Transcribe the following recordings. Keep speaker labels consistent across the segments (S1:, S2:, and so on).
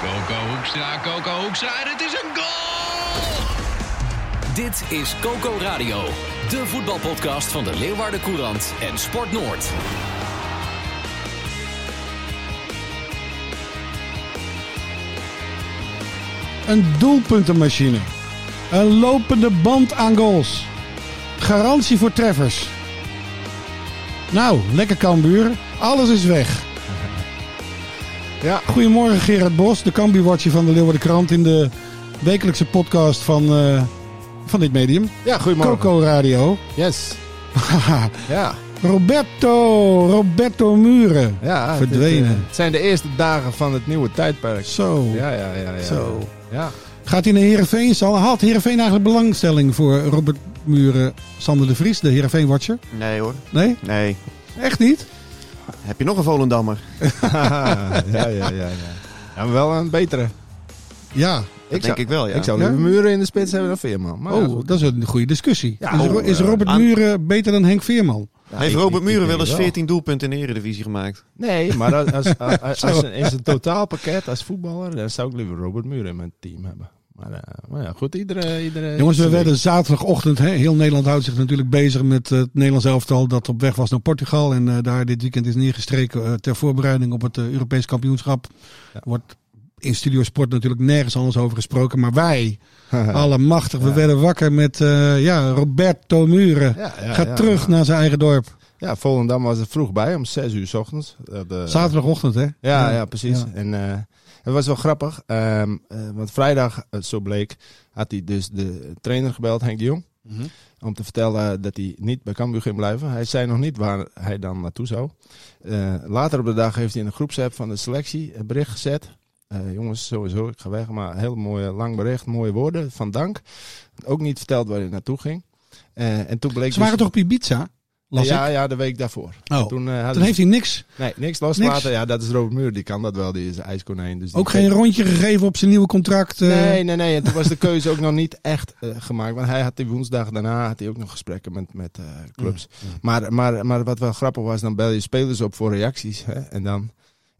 S1: Coco Hoekstra, Coco Hoekstra en het is een goal!
S2: Dit is Coco Radio, de voetbalpodcast van de Leeuwarden Courant en Sport Noord.
S3: Een doelpuntenmachine. Een lopende band aan goals. Garantie voor treffers. Nou, lekker Cambuur. Alles is weg. Ja, goedemorgen Gerard Bos, de Cambuur-watcher van de Leeuwarden Krant... in de wekelijkse podcast van, eh, van dit medium.
S4: Ja, goedemorgen.
S3: Coco Radio.
S4: Yes. Ja.
S3: Roberto, Roberto Muren.
S4: ja het is,
S3: Verdwenen.
S4: eh, het zijn de eerste dagen van het nieuwe tijdperk.
S3: Zo.
S4: Ja, ja, ja. ja.
S3: Zo.
S4: Ja.
S3: Gaat hij naar Heerenveen? Zal- Had Heerenveen eigenlijk belangstelling voor Robert Muren, Sander de Vries, de Heerenveen-watcher?
S5: Nee hoor,
S3: Nee?
S5: nee.
S3: Echt niet?
S5: Heb je nog een Volendammer?
S4: ja, ja, ja, ja. Ja, maar wel een betere.
S3: Ja.
S5: Dat denk ik wel, ja.
S4: Ik zou
S3: Ja?
S4: liever muren in de spits hebben dan Veerman. Maar ja,
S3: Oh,
S4: goed.
S3: dat is een goede discussie.
S4: Ja,
S3: is, Ro-
S4: oh,
S3: is
S4: eh,
S3: Robert
S5: aan-
S3: Muren beter dan Henk Veerman?
S4: Ja,
S5: Heeft
S4: ik-
S5: Robert
S4: ik- ik
S5: Muren
S4: denk
S5: wel eens
S4: het
S5: 14 doelpunten in de Eredivisie gemaakt?
S4: Nee, maar als, als, als, als,
S3: Zo.
S4: een, is een totaalpakket als voetballer, dan zou ik liever Robert Muren in mijn team hebben. Maar, eh, maar ja, goed, iedere... iedere
S3: Jongens, we
S4: iedere
S3: werden zaterdagochtend, hè, heel Nederland houdt zich natuurlijk bezig met eh, het Nederlands elftal dat op weg was naar Portugal. En eh, daar dit weekend is neergestreken eh, ter voorbereiding op het eh, Europees kampioenschap.
S4: Ja.
S3: Wordt in Studio Sport natuurlijk nergens anders over gesproken. Maar wij,
S4: week.
S3: allemachtig, we
S4: Ja.
S3: werden wakker met eh, ja, Roberto Muren.
S4: Ja, ja,
S3: Gaat
S4: ja,
S3: terug
S4: ja.
S3: naar zijn eigen dorp.
S4: Ja, Volendam was er vroeg bij, om 6 uur s ochtends. Eh, de-
S3: Zaterdagochtend, hè?
S4: Ja, ja, precies.
S3: Ja.
S4: En eh, het was wel grappig, ehm, eh, want vrijdag, eh, zo bleek, had hij dus de trainer gebeld, Henk de Jong.
S3: Mhm.
S4: Om te vertellen dat hij niet bij Cambuur ging blijven. Hij zei nog niet waar hij dan naartoe zou. Eh, later op de dag heeft hij in de groepsapp van de selectie een bericht gezet. Eh, jongens, sowieso, ik ga weg. Maar een heel mooi, eh, lang bericht, mooie woorden van dank. Ook niet verteld waar hij naartoe ging. Eh, en toen bleek
S3: Ze waren
S4: dus-
S3: toch op Ibiza? Las
S4: ja, ja, de week daarvoor.
S3: ik. Oh.
S4: Toen, eh, hadden
S3: Toen heeft hij niks
S4: Nee, niks loslaten. Ja, dat is Robert Muur. Die kan dat wel. Die is een ijskonijn. Dus die-
S3: Ook geen rondje gegeven op zijn nieuwe contract. eh.
S4: Nee, nee, nee. En toen was de keuze ook nog niet echt eh, gemaakt. Want hij had die woensdag daarna had hij ook nog gesprekken met, met eh, clubs.
S3: Mm,
S4: Maar, maar, maar wat wel grappig was, dan bel je spelers op voor reacties. Hè? En dan...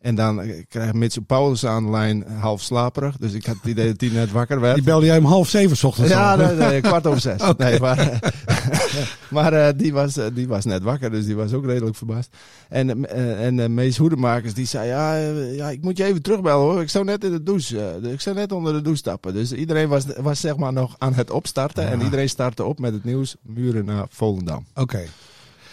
S4: En dan eh, krijg je Mitsu Paulus aan de lijn eh, half slaperig. Dus ik had het idee dat hij net wakker werd.
S3: Die belde jij om half zeven 's ochtends
S4: Ja,
S3: al.
S4: nee, nee, kwart over zes. Nee, maar eh, maar eh, die, was, eh, die was net wakker, dus die was ook redelijk verbaasd. En, eh, en eh, Mees Hoedemakers die zei, ja, eh, ja, ik moet je even terugbellen hoor. Ik zou net in de douche, eh, ik zou net onder de douche stappen. Dus iedereen was, was zeg maar nog aan het opstarten. En iedereen startte op met het nieuws, muren naar Volendam.
S3: Oké.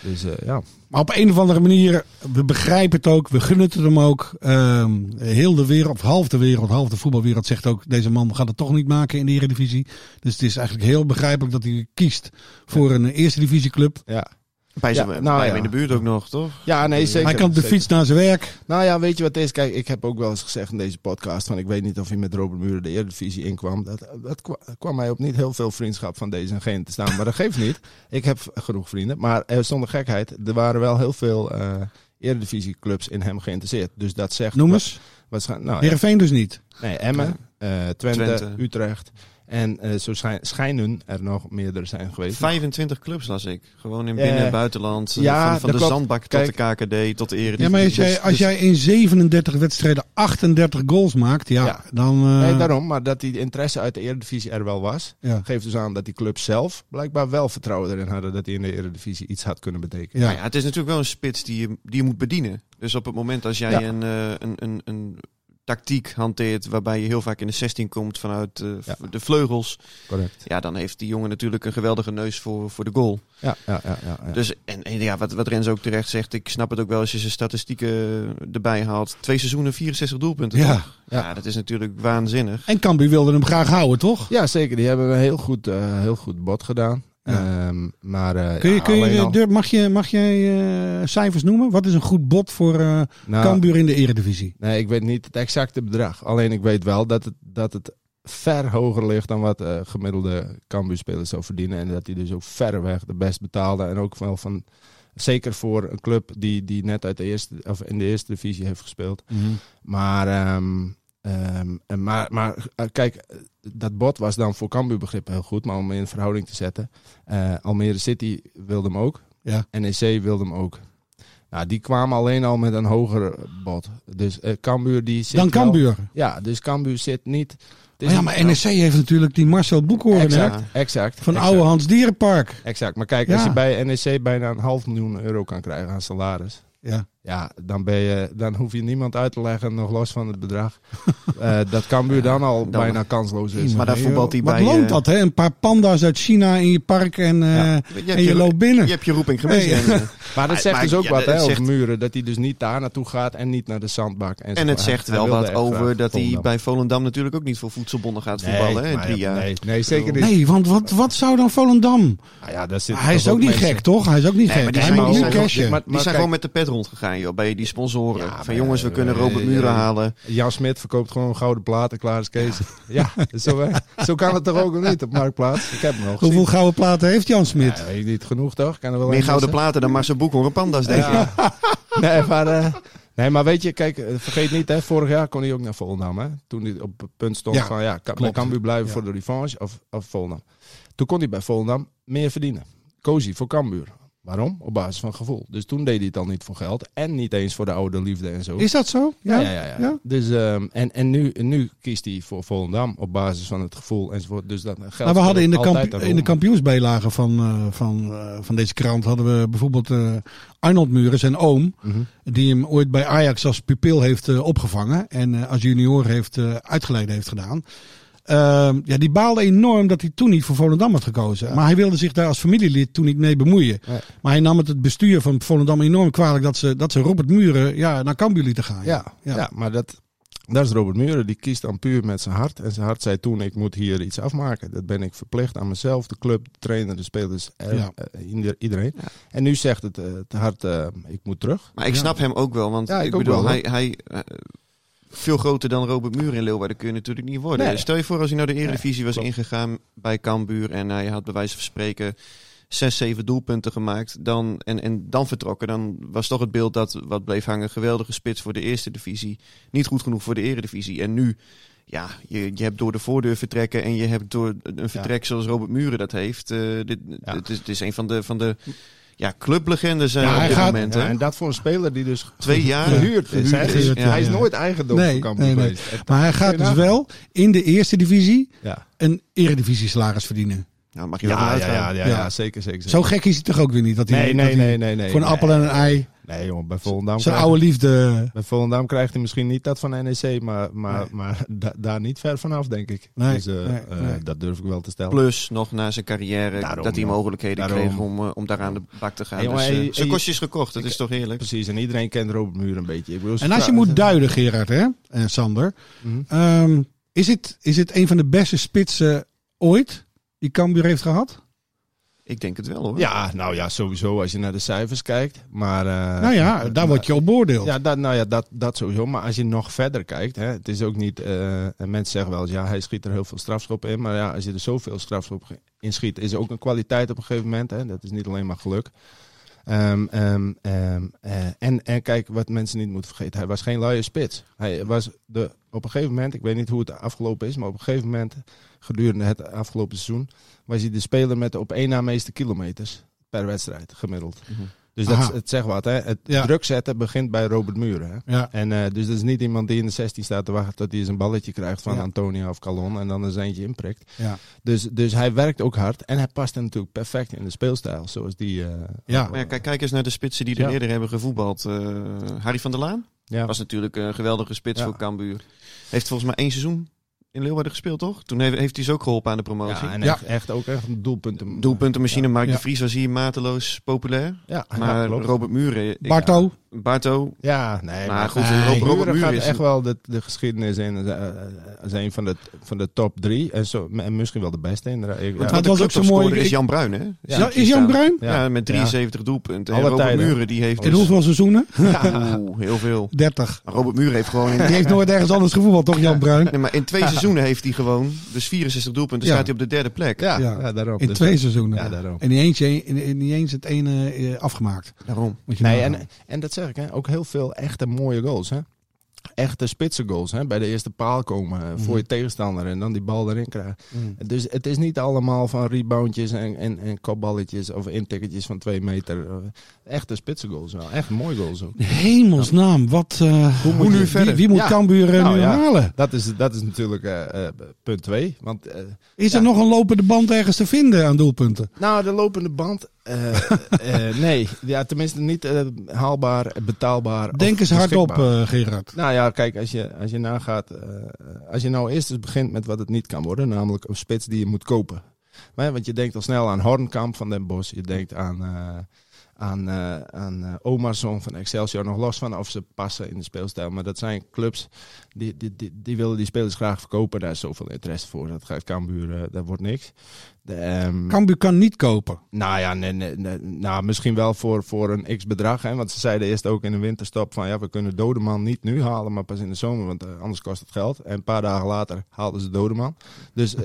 S4: Dus eh, ja.
S3: Maar op een of andere manier, we begrijpen het ook, we gunnen het hem ook. Ehm, heel de wereld, of half de wereld, half de voetbalwereld zegt ook, deze man gaat het toch niet maken in de Eredivisie. Dus het is eigenlijk heel begrijpelijk dat hij kiest voor een Eerste Divisieclub.
S4: Ja,
S5: Bij,
S4: Ja,
S5: zijn,
S4: nou
S5: bij
S4: ja.
S5: hem in de buurt ook nog, toch?
S4: ja nee, zeker.
S3: hij kan op de
S4: zeker.
S3: fiets naar zijn werk.
S4: Nou ja, weet je wat het is? Kijk, ik heb ook wel eens gezegd in deze podcast... van ik weet niet of hij met Robert Muren de Eredivisie inkwam. Dat, dat kwa- kwam mij op niet heel veel vriendschap van deze en geen te staan. Maar dat geeft niet. Ik heb v- genoeg vrienden. Maar eh, zonder gekheid, er waren wel heel veel eh Eredivisieclubs in hem geïnteresseerd. Dus dat zegt...
S3: Noem eens.
S4: Waarschijnlijk, nou, ja.
S3: Heerenveen dus niet.
S4: nee, Emmen, eh, Twente,
S5: Twente.
S4: Utrecht. En eh, zo schijn- schijnen er nog meerdere zijn geweest.
S5: 25 clubs las ik. Gewoon in binnen-
S4: Ja.
S5: en buitenland. Eh,
S4: Ja,
S5: van van
S4: dat
S5: de
S4: klopt.
S5: zandbak tot de KKD, tot de Eredivisie.
S3: Ja, maar als jij,
S5: Dus-
S3: als
S5: dus-
S3: jij in 37 wedstrijden 38 goals maakt, ja,
S4: Ja.
S3: dan... eh,
S4: Nee, daarom. Maar dat die interesse uit de Eredivisie er wel was...
S3: ja.
S4: geeft dus aan dat die club zelf blijkbaar wel vertrouwen erin hadden dat hij in de Eredivisie iets had kunnen betekenen.
S3: Ja.
S5: Nou ja, het is natuurlijk wel een spits die je, die je moet bedienen. Dus op het moment als jij
S4: Ja.
S5: een, eh, een, een, een tactiek hanteert waarbij je heel vaak in de 16 komt vanuit eh, v-
S4: Ja.
S5: de vleugels.
S4: Correct.
S5: Ja, dan heeft die jongen natuurlijk een geweldige neus voor, voor de goal.
S4: Ja, ja, ja. ja, ja.
S5: Dus en, en ja, wat, wat Rens ook terecht zegt, ik snap het ook wel als je zijn statistieken erbij haalt. Twee seizoenen, 64 doelpunten.
S3: Ja,
S5: toch? ja. dat is natuurlijk waanzinnig.
S3: En Cambuur wilde hem graag houden, toch?
S4: Ja, zeker. Die hebben een heel goed, eh, heel goed bod gedaan.
S3: Ja.
S4: Ehm, maar eh,
S3: Kun je,
S4: ja,
S3: kun je,
S4: alleen al-
S3: durf- mag, je, mag jij eh, cijfers noemen? Wat is een goed bod voor eh
S4: Nou,
S3: Cambuur in de Eredivisie?
S4: Nee, ik weet niet het exacte bedrag. Alleen ik weet wel dat het, dat het ver hoger ligt dan wat eh, gemiddelde Cambuur-speler zou verdienen. En dat hij dus ook verreweg de best betaalde. En ook wel van, zeker voor een club die, die net uit de eerste, of in de eerste divisie heeft gespeeld.
S3: Oh
S4: Maar, ehm, ehm, en maar, maar eh, kijk, eh, dat bod was dan voor Cambuur begrip heel goed. Maar om in verhouding te zetten, eh, Almere City wilde hem ook.
S3: Ja.
S4: NEC wilde hem ook. Nou, die kwamen alleen al met een hoger bod. Dus eh Cambuur die zit
S3: Dan
S4: wel-
S3: Cambuur.
S4: ja, dus Cambuur zit niet... het is
S3: Oh ja,
S4: niet- Oh,
S3: maar NSC heeft natuurlijk die Marcel Boekhoorn hè?
S4: Exact, exact.
S3: van
S4: exact.
S3: oude Hans Dierenpark.
S4: Exact. Maar kijk,
S3: Ja.
S4: als je bij NEC bijna een half miljoen euro kan krijgen aan salaris...
S3: Ja.
S4: Ja, dan, ben je, dan hoef je niemand uit te leggen, nog los van het bedrag. Eh, dat Cambuur dan al
S5: dan-
S4: bijna kansloos is.
S5: Maar daar voetbalt hij
S3: Wat
S5: bij,
S3: loont
S5: eh,
S3: dat, hè? Een paar panda's uit China in je park en, eh,
S4: Ja.
S5: Je hebt
S3: en je, loopt binnen.
S5: Je hebt je roeping gemist.
S3: Nee.
S5: En, eh,
S4: Maar dat
S5: Maar-
S4: zegt
S5: maar-
S4: dus ook
S5: ja,
S4: wat
S5: dat
S4: hè,
S5: zegt-
S4: over muren. Dat hij dus niet daar naartoe gaat en niet naar de zandbak. En, zo.
S5: en het
S4: Hij-
S5: zegt
S4: hij
S5: wel
S4: wilde
S5: wat
S4: echt
S5: over
S4: graag
S5: dat hij
S4: Volendam.
S5: bij Volendam natuurlijk ook niet voor voedselbonnen gaat voetballen. hè,
S4: maar
S5: drie
S4: ja,
S5: jaar.
S4: Nee, nee, zeker niet.
S3: Nee, want wat, wat zou dan Volendam?
S4: Nou dus- ja, daar zitten
S3: Hij is
S4: toch
S3: ook niet
S4: mensen-
S3: gek, toch? Hij is ook niet
S5: Nee, maar
S3: gek.
S5: die
S3: Hij
S5: zijn
S3: moet
S5: ook-
S3: nu
S5: die zijn
S3: cashen.
S4: Maar-
S5: die zijn
S4: kijk-
S5: gewoon met de pet rondgegaan, joh, bij die sponsoren.
S4: Ja,
S5: van
S4: maar,
S5: jongens, we
S4: eh,
S5: kunnen Robert
S4: eh,
S5: Muren
S4: ja.
S5: halen.
S4: Jan Smit verkoopt gewoon gouden platen, klaar is Kees. Ja, zo, hè. zo kan het toch ook niet op Marktplaats? Ik heb hem nog gezien.
S3: Hoeveel gouden platen heeft Jan Smit?
S4: Ja, weet ik niet genoeg toch? Kan er wel
S5: Meer
S4: een
S5: gouden
S4: missen?
S5: platen dan Marcel Boekhoorn pandas, denk ik.
S4: Ja. nee, maar, eh, nee, maar weet je, kijk, eh, vergeet niet, hè, vorig jaar kon hij ook naar Volendam. Hè, toen hij op het punt stond
S3: Ja,
S4: van, ja, kan, bij
S3: klopt.
S4: Cambuur blijven
S3: Ja.
S4: voor de revanche of, of Volendam. Toen kon hij bij Volendam meer verdienen. Koos hij voor Cambuur. Waarom? Op basis van gevoel. Dus toen deed hij het al niet voor geld en niet eens voor de oude liefde en zo.
S3: Is dat zo?
S4: ja, ja, ja. ja. Dus, ehm, en en nu, nu kiest hij voor Volendam op basis van het gevoel enzovoort. Dus dat geld
S3: Nou, we hadden in de,
S4: altijd
S3: kamp-
S4: een rol.
S3: in de kampioensbijlage van, eh, van, eh, van deze krant hadden we bijvoorbeeld eh, Arnold Muren, zijn oom,
S4: Mhm.
S3: die hem ooit bij Ajax als pupil heeft eh, opgevangen en eh, als junior heeft eh uitgeleid heeft gedaan. Ehm, ja, die baalde enorm dat hij toen niet voor Volendam had gekozen. Maar hij wilde zich daar als familielid toen niet mee bemoeien.
S4: Ja.
S3: Maar hij nam het, het bestuur van Volendam enorm kwalijk dat ze, dat ze Robert Muren ja, naar Cambuur lieten gaan.
S4: Ah, Ja,
S3: Ja.
S4: ja. maar dat, dat is Robert Muren. Die kiest dan puur met zijn hart. En zijn hart zei toen, ik moet hier iets afmaken. Dat ben ik verplicht aan mezelf, de club, de trainer, de spelers, eh,
S3: Ja.
S4: eh, ieder- iedereen.
S5: Ja.
S4: En nu zegt het, eh, het hart, eh, ik moet terug.
S5: Maar ik
S3: Ja.
S5: snap hem ook wel, want
S4: Ja,
S5: ik,
S4: ik ook
S5: bedoel,
S4: wel,
S5: hij, hij eh, veel groter dan Robert Muren in Leeuwarden kun je natuurlijk niet worden.
S4: Nee.
S5: Stel je voor als hij naar de Eredivisie was
S4: klopt.
S5: ingegaan bij Cambuur en hij had bij wijze van spreken zes, zeven doelpunten gemaakt dan, en, en dan vertrokken, dan was toch het beeld dat wat bleef hangen, geweldige spits voor de Eerste Divisie, niet goed genoeg voor de Eredivisie. En nu, ja, je, je hebt door de voordeur vertrekken en je hebt door een vertrek zoals Robert Muren dat heeft. eh, dit,
S4: Ja.
S5: het, is, het is een van de, van de ja, clublegendes eh,
S3: Ja,
S5: op
S3: hij
S5: dit
S3: gaat-
S5: moment.
S4: Ja,
S5: hè?
S4: en dat voor een speler die dus
S5: Twee jaar.
S4: gehuurd is.
S5: Gehuurd
S4: Hij is,
S3: is, ja.
S4: hij is nooit eigendom
S3: Nee,
S4: van Cambuur
S3: nee, nee.
S4: geweest. En-
S3: Maar hij gaat dus wel in de eerste divisie
S4: Ja,
S3: een eredivisie salaris verdienen.
S5: Nou, mag je wel
S4: ja, ja,
S5: vanuit
S4: ja,
S5: gaan.
S4: ja,
S3: Ja.
S4: zeker, zeker.
S3: Zo
S4: zeker.
S3: gek is hij toch ook weer niet? Dat hij,
S4: Nee,
S3: dat
S4: nee,
S3: hij
S4: nee, nee, nee.
S3: voor een appel en een ei.
S4: Nee, jongen, bij Volendam.
S3: Zijn
S4: krijgt-
S3: oude liefde.
S4: Bij Volendam krijgt hij misschien niet dat van NEC, maar, maar,
S3: Nee.
S4: maar da- daar niet ver vanaf, denk ik.
S3: Nee,
S4: dus eh,
S3: nee,
S4: eh,
S3: nee.
S4: dat durf ik wel te stellen.
S5: Plus nog na zijn carrière
S4: Daarom,
S5: dat hij
S4: joh.
S5: mogelijkheden
S4: Daarom.
S5: kreeg om, eh, om daar aan de bak te gaan.
S4: Hey, jongen,
S5: dus, eh,
S4: hey,
S5: zijn
S4: hey,
S5: kostjes gekocht, dat is toch heerlijk?
S4: Precies, en iedereen kent Robert Muur een beetje. Ik bedoel, ze
S3: En als je
S4: vra-
S3: moet duiden, Gerard hè, en Sander.
S4: Mhm.
S3: ehm, is, het, is het een van de beste spitsen ooit die Cambuur heeft gehad?
S5: Ik denk het wel hoor.
S4: Ja, nou ja, sowieso als je naar de cijfers kijkt. Maar, eh,
S3: nou ja, daar
S4: maar-
S3: word je op beoordeeld.
S4: Ja, dat, nou ja, dat, dat sowieso. Maar als je nog verder kijkt, hè, het is ook niet. eh, en mensen zeggen wel eens, ja, hij schiet er heel veel strafschoppen in. Maar ja, als je er zoveel strafschoppen in schiet, is er ook een kwaliteit op een gegeven moment. Hè, dat is niet alleen maar geluk. Ehm, ehm, ehm, eh, en, en kijk, wat mensen niet moeten vergeten, hij was geen luie spits. Hij was de, op een gegeven moment, ik weet niet hoe het afgelopen is, maar op een gegeven moment, gedurende het afgelopen seizoen, was hij de speler met de op één na meeste kilometers per wedstrijd gemiddeld.
S5: Mhm.
S4: Dus
S3: Aha.
S4: dat, het zegt wat, hè? Het
S3: Ja.
S4: druk zetten begint bij Robert Muren. Hè?
S3: Ja.
S4: En eh, dus dat is niet iemand die in de 16 staat te wachten tot hij eens een balletje krijgt van
S3: Ja.
S4: Antonia of Calon en dan eens eentje inprikt.
S3: Ja.
S4: Dus, dus hij werkt ook hard en hij past er natuurlijk perfect in de speelstijl zoals die. eh,
S3: Ja.
S5: Maar ja, kijk, kijk eens naar de spitsen die er
S4: Ja.
S5: eerder hebben gevoetbald. Eh, Harry van der Laan
S4: ja.
S5: was natuurlijk een geweldige spits
S4: Ja.
S5: voor Cambuur. Heeft volgens mij één seizoen in Leeuwarden gespeeld, toch? Toen heeft, heeft hij ze ook geholpen aan de promotie.
S4: Ja, en
S3: Ja.
S4: Echt, echt ook echt een doelpunten.
S5: Doelpuntenmachine, Mark
S3: Ja.
S5: de Vries was hier mateloos populair.
S4: Ja,
S5: Maar
S4: ja, klopt.
S5: Robert Muren... ik-
S3: Barto,
S5: Barto,
S4: Ja, nee.
S5: Maar goed,
S4: nee,
S5: Robert- Robert
S4: Muren
S5: Muren
S4: gaat
S5: is
S4: echt
S5: een-
S4: wel de, de geschiedenis in. eh, Is een van de, van de top drie. En, zo, en misschien wel de beste. inderdaad. Ik-
S5: Want
S4: ja.
S3: dat
S5: de
S3: was ook zo
S5: clubtopscorer
S3: mooi.
S5: is
S3: Ik-
S5: Jan Bruin, hè?
S3: Ja, is Jan Bruin?
S4: Oh,
S5: Ja, met 73 doelpunten. En
S4: Alle
S5: Robert
S4: tijden.
S5: Muren, die heeft...
S3: In hoeveel seizoenen?
S5: Oeh, heel veel.
S3: 30.
S5: Maar Robert Muren heeft gewoon...
S3: Die
S5: In,
S3: heeft nooit ergens anders gevoetbald, toch Jan Bruin?
S5: nee, maar in twee seizoenen heeft hij gewoon... Dus 64 doelpunten,
S3: Ja.
S5: staat hij op de derde plek.
S4: Ja,
S3: Ja.
S4: ja. daarom.
S3: In
S4: Dus
S3: twee
S4: dat-
S3: seizoenen.
S4: Ja, daarom.
S3: En niet eens, in, in, niet eens het ene eh, afgemaakt.
S5: Daarom.
S3: Moet je
S4: Nee,
S3: nagaan.
S4: en, en dat zeg ik, hè, ook heel veel echte mooie goals. Hè? Echte spitse goals. Hè? Bij de eerste paal komen eh, voor
S3: Mhm.
S4: je tegenstander en dan die bal erin krijgen.
S3: Mm.
S4: Dus het is niet allemaal van reboundjes en, en, en kopballetjes of intikketjes van twee meter. Eh, Echte spitse goals wel. Echt mooie goals ook.
S3: nou, Hemelsnaam, wat... eh,
S5: Hoe moet je-
S3: wie-
S5: verder?
S3: Wie moet
S4: Ja.
S3: Cambuur eh,
S4: Nou,
S3: nu
S4: ja.
S3: halen?
S4: Dat is, dat is natuurlijk eh, eh, punt twee. Want eh,
S3: Is er nog een lopende band ergens te vinden aan doelpunten?
S4: Nou, de lopende band. eh, eh, nee, ja, tenminste niet eh, haalbaar, betaalbaar.
S3: Denk
S4: of
S3: eens hardop,
S4: beschikbaar.
S3: eh Gerard.
S4: Nou ja, kijk, als je, als je nagaat. eh, als je nou eerst eens begint met wat het niet kan worden, namelijk een spits die je moet kopen. Maar, want je denkt al snel aan Hornkamp van Den Bosch. Je denkt aan. eh aan, eh aan eh, Omarsson van Excelsior nog los van of ze passen in de speelstijl. Maar dat zijn clubs die, die, die, die willen die spelers graag verkopen. Daar is zoveel interesse voor. Dat gaat Cambuur, eh, dat wordt niks. De, ehm,
S3: Cambuur kan niet kopen.
S4: nou ja, nee, nee, nee, nou, misschien wel voor, voor een x-bedrag. hè, Want ze zeiden eerst ook in de winterstop van... ja, we kunnen Dodeman niet nu halen, maar pas in de zomer. Want eh, anders kost het geld. En een paar dagen later haalden ze Dodeman. Dus eh,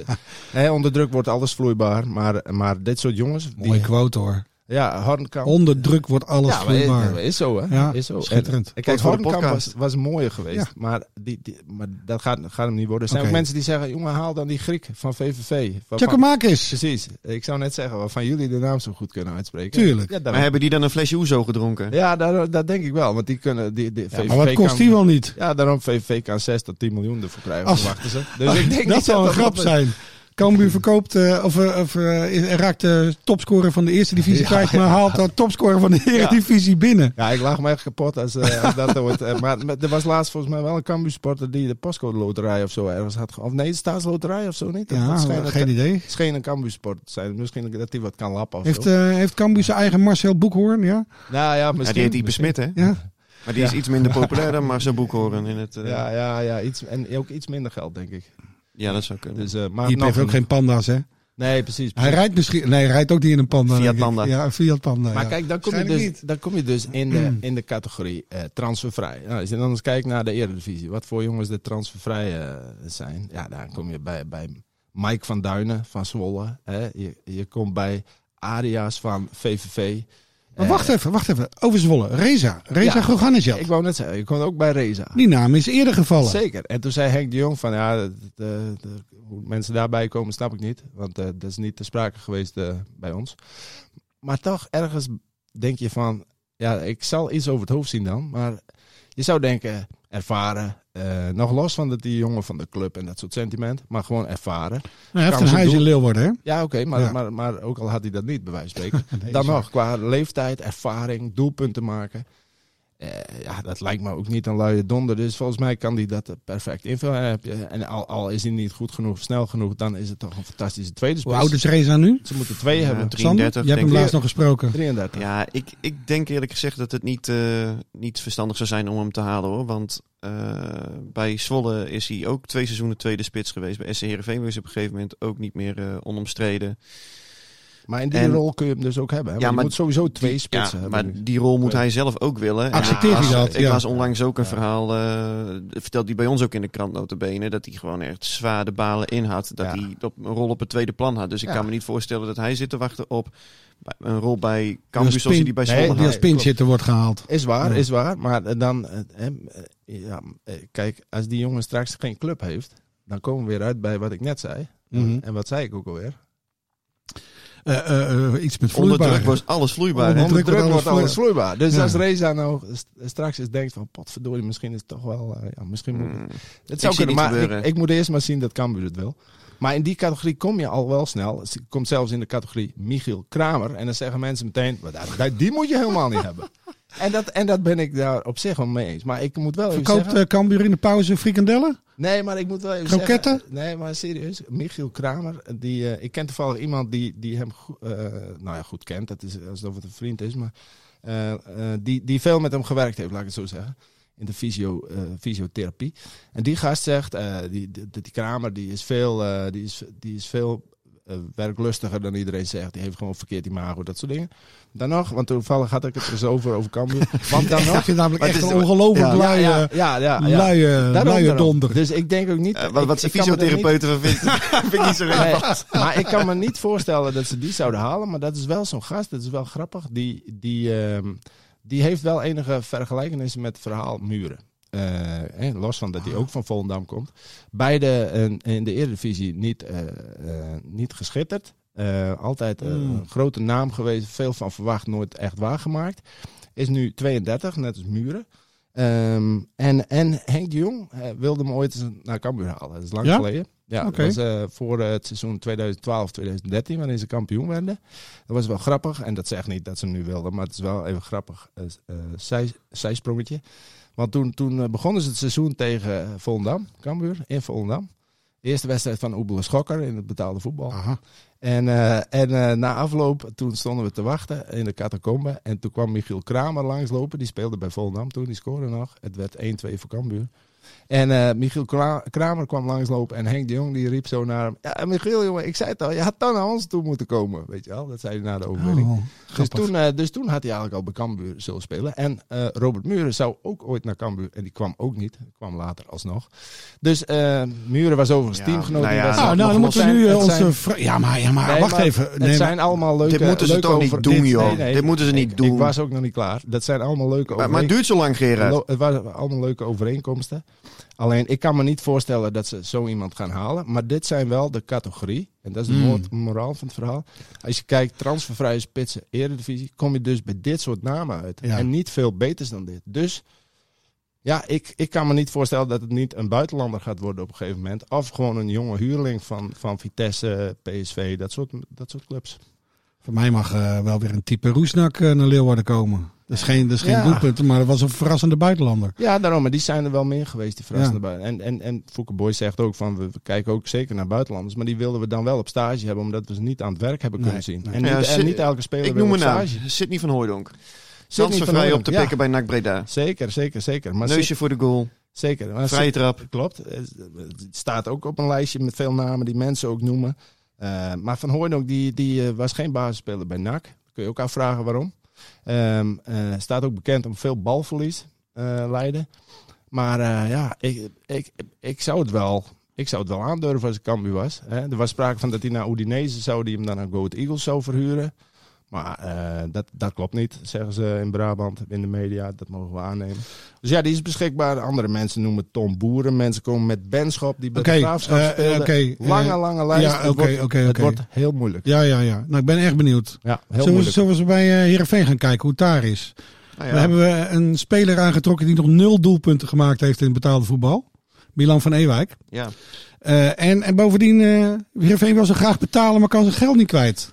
S4: hè, onder druk wordt alles vloeibaar. Maar, maar dit soort jongens... Die,
S3: Mooie quote hoor.
S4: ja, Hornkamp...
S3: Onder druk wordt alles
S4: ja, maar is,
S3: vloeibaar.
S4: is zo, hè?
S3: Ja,
S4: is zo.
S3: schitterend.
S4: En, kijk,
S5: Voor de
S4: Hornkamp
S5: podcast.
S4: was, was mooier geweest.
S3: Ja.
S4: Maar, die, die, maar dat gaat, gaat hem niet worden. Er zijn
S3: Oké.
S4: ook mensen die zeggen... jongen, haal dan die Griek van VVV. Van- van-
S3: Tjakkemakis.
S4: Precies. Ik zou net zeggen, waarvan jullie de naam zo goed kunnen uitspreken.
S3: Tuurlijk.
S4: Ja,
S5: Maar
S4: daar,
S5: hebben die dan een flesje Oezo gedronken?
S4: ja daar, dat denk ik wel. Want die kunnen... Die, die, VVV
S3: Maar wat kost
S4: kan-
S3: die wel niet?
S4: Ja, daarom VVV kan 6 tot 10 miljoen ervoor krijgen,
S3: Als-
S4: verwachten ze. Dus ik denk
S3: dat
S4: niet
S3: zou een grap
S4: dat-
S3: zijn. Cambuur verkoopt eh, of, eh, of eh, is- raakt de topscorer van de eerste divisie
S4: Ja,
S3: kwijt, maar haalt de topscorer van de eredivisie binnen.
S4: Ja, ik lag me echt kapot als, eh, als dat er wordt. eh, maar maar er was laatst volgens mij wel een Cambuur-sporter die de postcode loterij of zo ergens had. ge- Of nee, de staatsloterij of zo niet. Dat- dat
S3: Ja,
S4: schijnt-
S3: geen idee.
S4: Het scheen een Cambuur-sporter te zijn. Misschien dat hij wat kan lappen of
S3: Heeft,
S4: zo.
S3: eh heeft Cambuur zijn eigen Marcel Boekhoorn, ja?
S4: nou ja,
S5: Ja,
S4: misschien.
S5: die heet Ipe
S4: misschien.
S5: Smit, hè?
S3: ja?
S5: Maar die is iets minder populair dan Marcel Boekhoorn in het... eh,
S4: Ja, ja, ja. Iets, en ook iets minder geld, denk ik.
S5: Ja, dat zou kunnen.
S4: Dus, eh maar
S3: Die
S4: nog
S3: heeft ook
S4: een-
S3: geen panda's, hè?
S4: Nee, precies.
S3: Hij
S4: precies.
S3: rijdt misschien... Nee, hij rijdt ook niet in een panda.
S5: Fiat
S3: denk ik.
S5: Panda.
S3: Ja, een Fiat Panda,
S4: Maar
S3: ja.
S4: kijk, dan kom, je
S3: Waarschijnlijk
S4: dus, dan kom je dus in de, in de categorie eh, transfervrij. Nou, als je dan eens kijkt naar de Eredivisie, wat voor jongens de transfervrij eh, zijn. Ja, dan kom je bij, bij Mike van Duinen van Zwolle. Hè? Je, je komt bij Arias van VVV.
S3: Maar
S4: Eh,
S3: wacht even, wacht even. Over Zwolle. Reza. Reza
S4: Ja.
S3: Goganejad.
S4: Ik wou net zeggen, je komt ook bij Reza.
S3: Die naam is eerder gevallen.
S4: Zeker. En toen zei Henk de Jong van, ja, dat- dat- dat- hoe mensen daarbij komen snap ik niet. Want eh, dat is niet te sprake geweest eh, bij ons. Maar toch, ergens denk je van, ja, ik zal iets over het hoofd zien dan. Maar je zou denken, ervaren. eh, nog los van dat die jongen van de club en dat soort sentiment. Maar gewoon ervaren.
S3: Nou, hij heeft
S4: Kan
S3: een
S4: ze
S3: huis in
S4: doen.
S3: Leeuwarden, hè?
S4: Ja, oké, maar,
S3: Ja.
S4: Maar, maar ook al had hij dat niet, bij wijze van spreken.
S3: Nee,
S4: dan
S3: is waar.
S4: nog, qua leeftijd, ervaring, doelpunten maken. Eh, ja, dat lijkt me ook niet een luie donder. Dus volgens mij kan hij dat eh, perfect invullen. Eh, heb je- En al, al is hij niet goed genoeg, snel genoeg, dan is het toch een fantastische tweede
S3: Hoe
S4: spits.
S3: oud is Reza nu?
S4: Ze moeten twee
S5: Ja,
S4: hebben.
S5: drie-
S3: Sander?
S5: 33,
S3: Je hebt hem
S5: denk ik.
S3: laatst nog gesproken.
S4: 33.
S5: Ja, ik, ik denk eerlijk gezegd dat het niet, eh, niet verstandig zou zijn om hem te halen hoor. Want eh, bij Zwolle is hij ook twee seizoenen tweede spits geweest. Bij SC Heerenveen was hij op een gegeven moment ook niet meer eh, onomstreden.
S4: Maar in die
S5: En-
S4: rol kun je hem dus ook hebben. hè?
S5: Ja,
S4: Want je
S5: maar
S4: moet sowieso twee
S5: Die-
S4: spitsen
S5: ja,
S4: hebben.
S5: Maar
S4: nu.
S5: die rol moet hij zelf ook willen. En
S3: Accepteer
S5: ik
S3: je
S5: las-
S3: dat?
S5: Ik
S3: Ja.
S5: las onlangs ook een verhaal, eh vertelt hij bij ons ook in de krant notabene, dat hij gewoon echt zwaar de balen in had. Dat
S4: Ja.
S5: hij op, een rol op het tweede plan had. Dus ik
S4: Ja.
S5: kan me niet voorstellen dat hij zit te wachten op een rol bij Cambuur
S3: Als
S5: zoals hij
S3: pin-
S5: die bij
S4: Nee,
S5: Zwolle
S3: Die
S5: had.
S3: als pinchitter wordt gehaald.
S4: Is waar,
S3: Ja.
S4: is waar. Maar eh, dan, eh, hem, eh, ja, eh, kijk, als die jongen straks geen club heeft, dan komen we weer uit bij wat ik net zei.
S3: Mhm.
S4: En wat zei ik ook alweer?
S3: Eh, eh, eh, iets met
S5: Onder
S3: vloeibaar.
S5: druk was alles vloeibaar.
S3: Onder
S5: hè?
S3: druk
S4: Onder druk
S3: wordt
S4: wordt
S3: alles
S4: alles vloeibaar. Dus
S3: Ja.
S4: als Reza nou st- straks eens denkt van, potverdorie, misschien is het toch wel, eh, ja, misschien moet
S5: Mm.
S4: het zou
S5: zie
S4: kunnen,
S5: niet
S4: maar ik,
S5: gebeuren.
S4: ik moet eerst maar zien dat Cambuur het wil. Maar in die categorie kom je al wel snel. Je komt zelfs in de categorie Michiel Kramer. En dan zeggen mensen meteen, "Maar daar- daar- die moet je helemaal niet hebben. En dat, en dat ben ik daar op zich wel mee eens. Maar ik moet wel even
S3: Verkoopt
S4: zeggen...
S3: eh Cambuur in de pauze frikandellen?
S4: Nee, maar ik moet wel even
S3: Kroketten?
S4: zeggen- Nee, maar serieus. Michiel Kramer, die, eh, ik ken toevallig iemand die, die hem go- eh, nou ja, goed kent. Dat is alsof het een vriend is, maar eh, eh, die, die veel met hem gewerkt heeft, laat ik het zo zeggen. In de fysio, eh, fysiotherapie. En die gast zegt, eh, die, die, die Kramer die is veel, eh, die is, die is veel eh, werklustiger dan iedereen zegt. Die heeft gewoon verkeerd imago, dat soort dingen. Dan nog, want toevallig had ik het er eens over, over Cambuur. Want dan
S3: Ik
S4: nog...
S3: vind namelijk
S5: Maar
S3: echt
S5: het
S3: een
S5: is-
S3: ongelooflijk
S4: Ja,
S3: luie,
S4: ja, ja, ja, ja.
S3: luie,
S4: Daarom,
S3: luie
S4: daarom.
S3: donder.
S4: Dus ik denk ook niet...
S5: Eh, wat,
S4: ik-
S5: wat zijn
S4: ik kan me er niet-
S5: fysiotherapeuten van vindt, vind ik niet zo relevant.
S4: Nee, maar ik kan me niet voorstellen dat ze die zouden halen. Maar dat is wel zo'n gast, dat is wel grappig. Die, die, ehm, die heeft wel enige vergelijkenissen met verhaal Muren. Eh, hè, los van dat hij ook van Volendam komt. Beide eh, in de Eredivisie niet, eh, eh, niet geschitterd. Eh, altijd eh,
S3: Mm.
S4: een grote naam geweest, veel van verwacht, nooit echt waargemaakt. Is nu 32, net als Muren. Ehm, en, en Henk de Jong eh, wilde hem ooit eens naar Cambuur halen. Dat is lang
S3: Ja?
S4: geleden. Ja, dat
S3: Oké.
S4: was eh, voor eh, het seizoen 2012-2013, waarin ze kampioen werden. Dat was wel grappig. En dat zegt niet dat ze hem nu wilden, maar het is wel even grappig eh, eh, zij, zijsprongetje. Want toen, toen eh, begonnen ze het seizoen tegen eh, Volendam, Cambuur, in Volendam. Eerste wedstrijd van Oebel en Schokker in het betaalde voetbal.
S3: Aha.
S4: En, eh, en eh, na afloop, toen stonden we te wachten in de catacombe. En toen kwam Michiel Kramer langslopen. Die speelde bij Volendam toen, die scoorde nog. Het werd 1-2 voor Cambuur. En eh, Michiel Kra- Kramer kwam langslopen. En Henk de Jong die riep zo naar hem. Ja, Michiel jongen, ik zei het al. Je had dan naar ons toe moeten komen. Weet je wel, dat zei hij na de overwinning.
S3: Oh,
S4: dus,
S3: grappig.
S4: toen, eh, dus toen had hij eigenlijk al bij Cambuur zullen spelen. En eh, Robert Muren zou ook ooit naar Cambuur. En die kwam ook niet. Kwam later alsnog. Dus eh, Muren was overigens
S5: Ja,
S4: teamgenoot.
S5: nou
S4: in
S5: ja,
S4: de wedstrijd.
S3: nou, nou, dan
S5: nog los
S3: moeten we
S4: zijn-
S3: nu eh,
S4: het
S3: onze...
S4: zijn-
S3: vra- Ja, maar, ja,
S5: Ah,
S3: maar
S4: Nee,
S3: wacht
S4: maar
S3: even.
S4: het
S3: Nee, maar-
S4: zijn allemaal leuke...
S5: Dit moeten ze
S4: leuke
S5: toch niet
S4: over-
S5: doen, joh.
S4: nee, nee,
S5: Dit moeten ze niet
S4: ik,
S5: doen.
S4: Ik was ook nog niet klaar. Dat zijn allemaal leuke
S5: Maar, maar het duurt zo lang, Gerard.
S4: Lo- Het waren allemaal leuke overeenkomsten. Alleen, ik kan me niet voorstellen dat ze zo iemand gaan halen. Maar dit zijn wel de categorie. En dat is de
S3: Hmm.
S4: moord- moraal van het verhaal. Als je kijkt, transfervrije spitsen, eredivisie... kom je dus bij dit soort namen uit.
S3: Ja.
S4: En niet veel beters dan dit. Dus... Ja, ik, ik kan me niet voorstellen dat het niet een buitenlander gaat worden op een gegeven moment. Of gewoon een jonge huurling van, van Vitesse, PSV, dat soort, dat soort clubs.
S3: Voor mij mag eh, wel weer een type Roesnak eh, naar Leeuwarden komen. Dat is geen, dat is geen
S4: Ja.
S3: doelpunt, maar dat was een verrassende buitenlander.
S4: Ja, daarom. Maar die zijn er wel meer geweest, die verrassende buitenlanders. En, en, en Fouke Boy zegt ook van, we, we kijken ook zeker naar buitenlanders. Maar die wilden we dan wel op stage hebben, omdat we ze niet aan het werk hebben kunnen
S3: Nee,
S4: zien.
S3: nee.
S4: En, niet,
S5: Ja,
S4: en
S5: Sid-
S4: niet elke speler
S5: ik
S4: wil
S5: noem
S4: op
S5: een naam.
S4: stage.
S5: Sidney van Hooijdonk.
S4: Sidney van
S5: vrij
S4: Hooydonk,
S5: op de
S4: ja.
S5: pikken bij NAC Breda.
S4: Zeker, zeker, zeker. Maar
S5: Neusje
S4: Sid-
S5: voor de goal.
S4: zeker. Maar Nou
S5: Vrije
S4: Sid-
S5: trap.
S4: klopt. Eh, Het staat ook op een lijstje met veel namen die mensen ook noemen. Eh, maar Van Hooydonk, die, die eh, was geen basisspeler bij NAC. Kun je ook afvragen waarom. Ehm, eh, staat ook bekend om veel balverlies eh leiden. Maar eh, ja, ik, ik, ik, zou het wel, ik zou het wel aandurven als ik Cambuur was. Hè. Er was sprake van dat hij naar Udinese zou, die hem dan aan Go Ahead Eagles zou verhuren. Maar eh, dat, dat klopt niet, zeggen ze in Brabant, in de media. Dat mogen we aannemen. Dus ja, die is beschikbaar. Andere mensen noemen Tom Boeren. Mensen komen met Benschop, die bij
S3: Oké,
S4: de Graafschap
S3: eh,
S4: speelde.
S3: oké, eh,
S4: lange, lange lijst.
S3: ja,
S4: Het
S3: oké,
S4: wordt-
S3: oké,
S4: Het
S3: oké.
S4: wordt heel moeilijk.
S3: Ja, ja, ja. Nou, ik ben echt benieuwd.
S4: Ja, heel
S3: Zullen we,
S4: moeilijk.
S3: zullen we eens bij eh, Heerenveen gaan kijken hoe het daar is?
S5: Nou
S3: Dan
S5: ja.
S3: hebben we een speler aangetrokken die nog nul doelpunten gemaakt heeft in het betaalde voetbal. Milan van Ewijk.
S5: ja.
S3: Eh, en, en bovendien, eh Heerenveen wil ze graag betalen, maar kan zijn geld niet kwijt.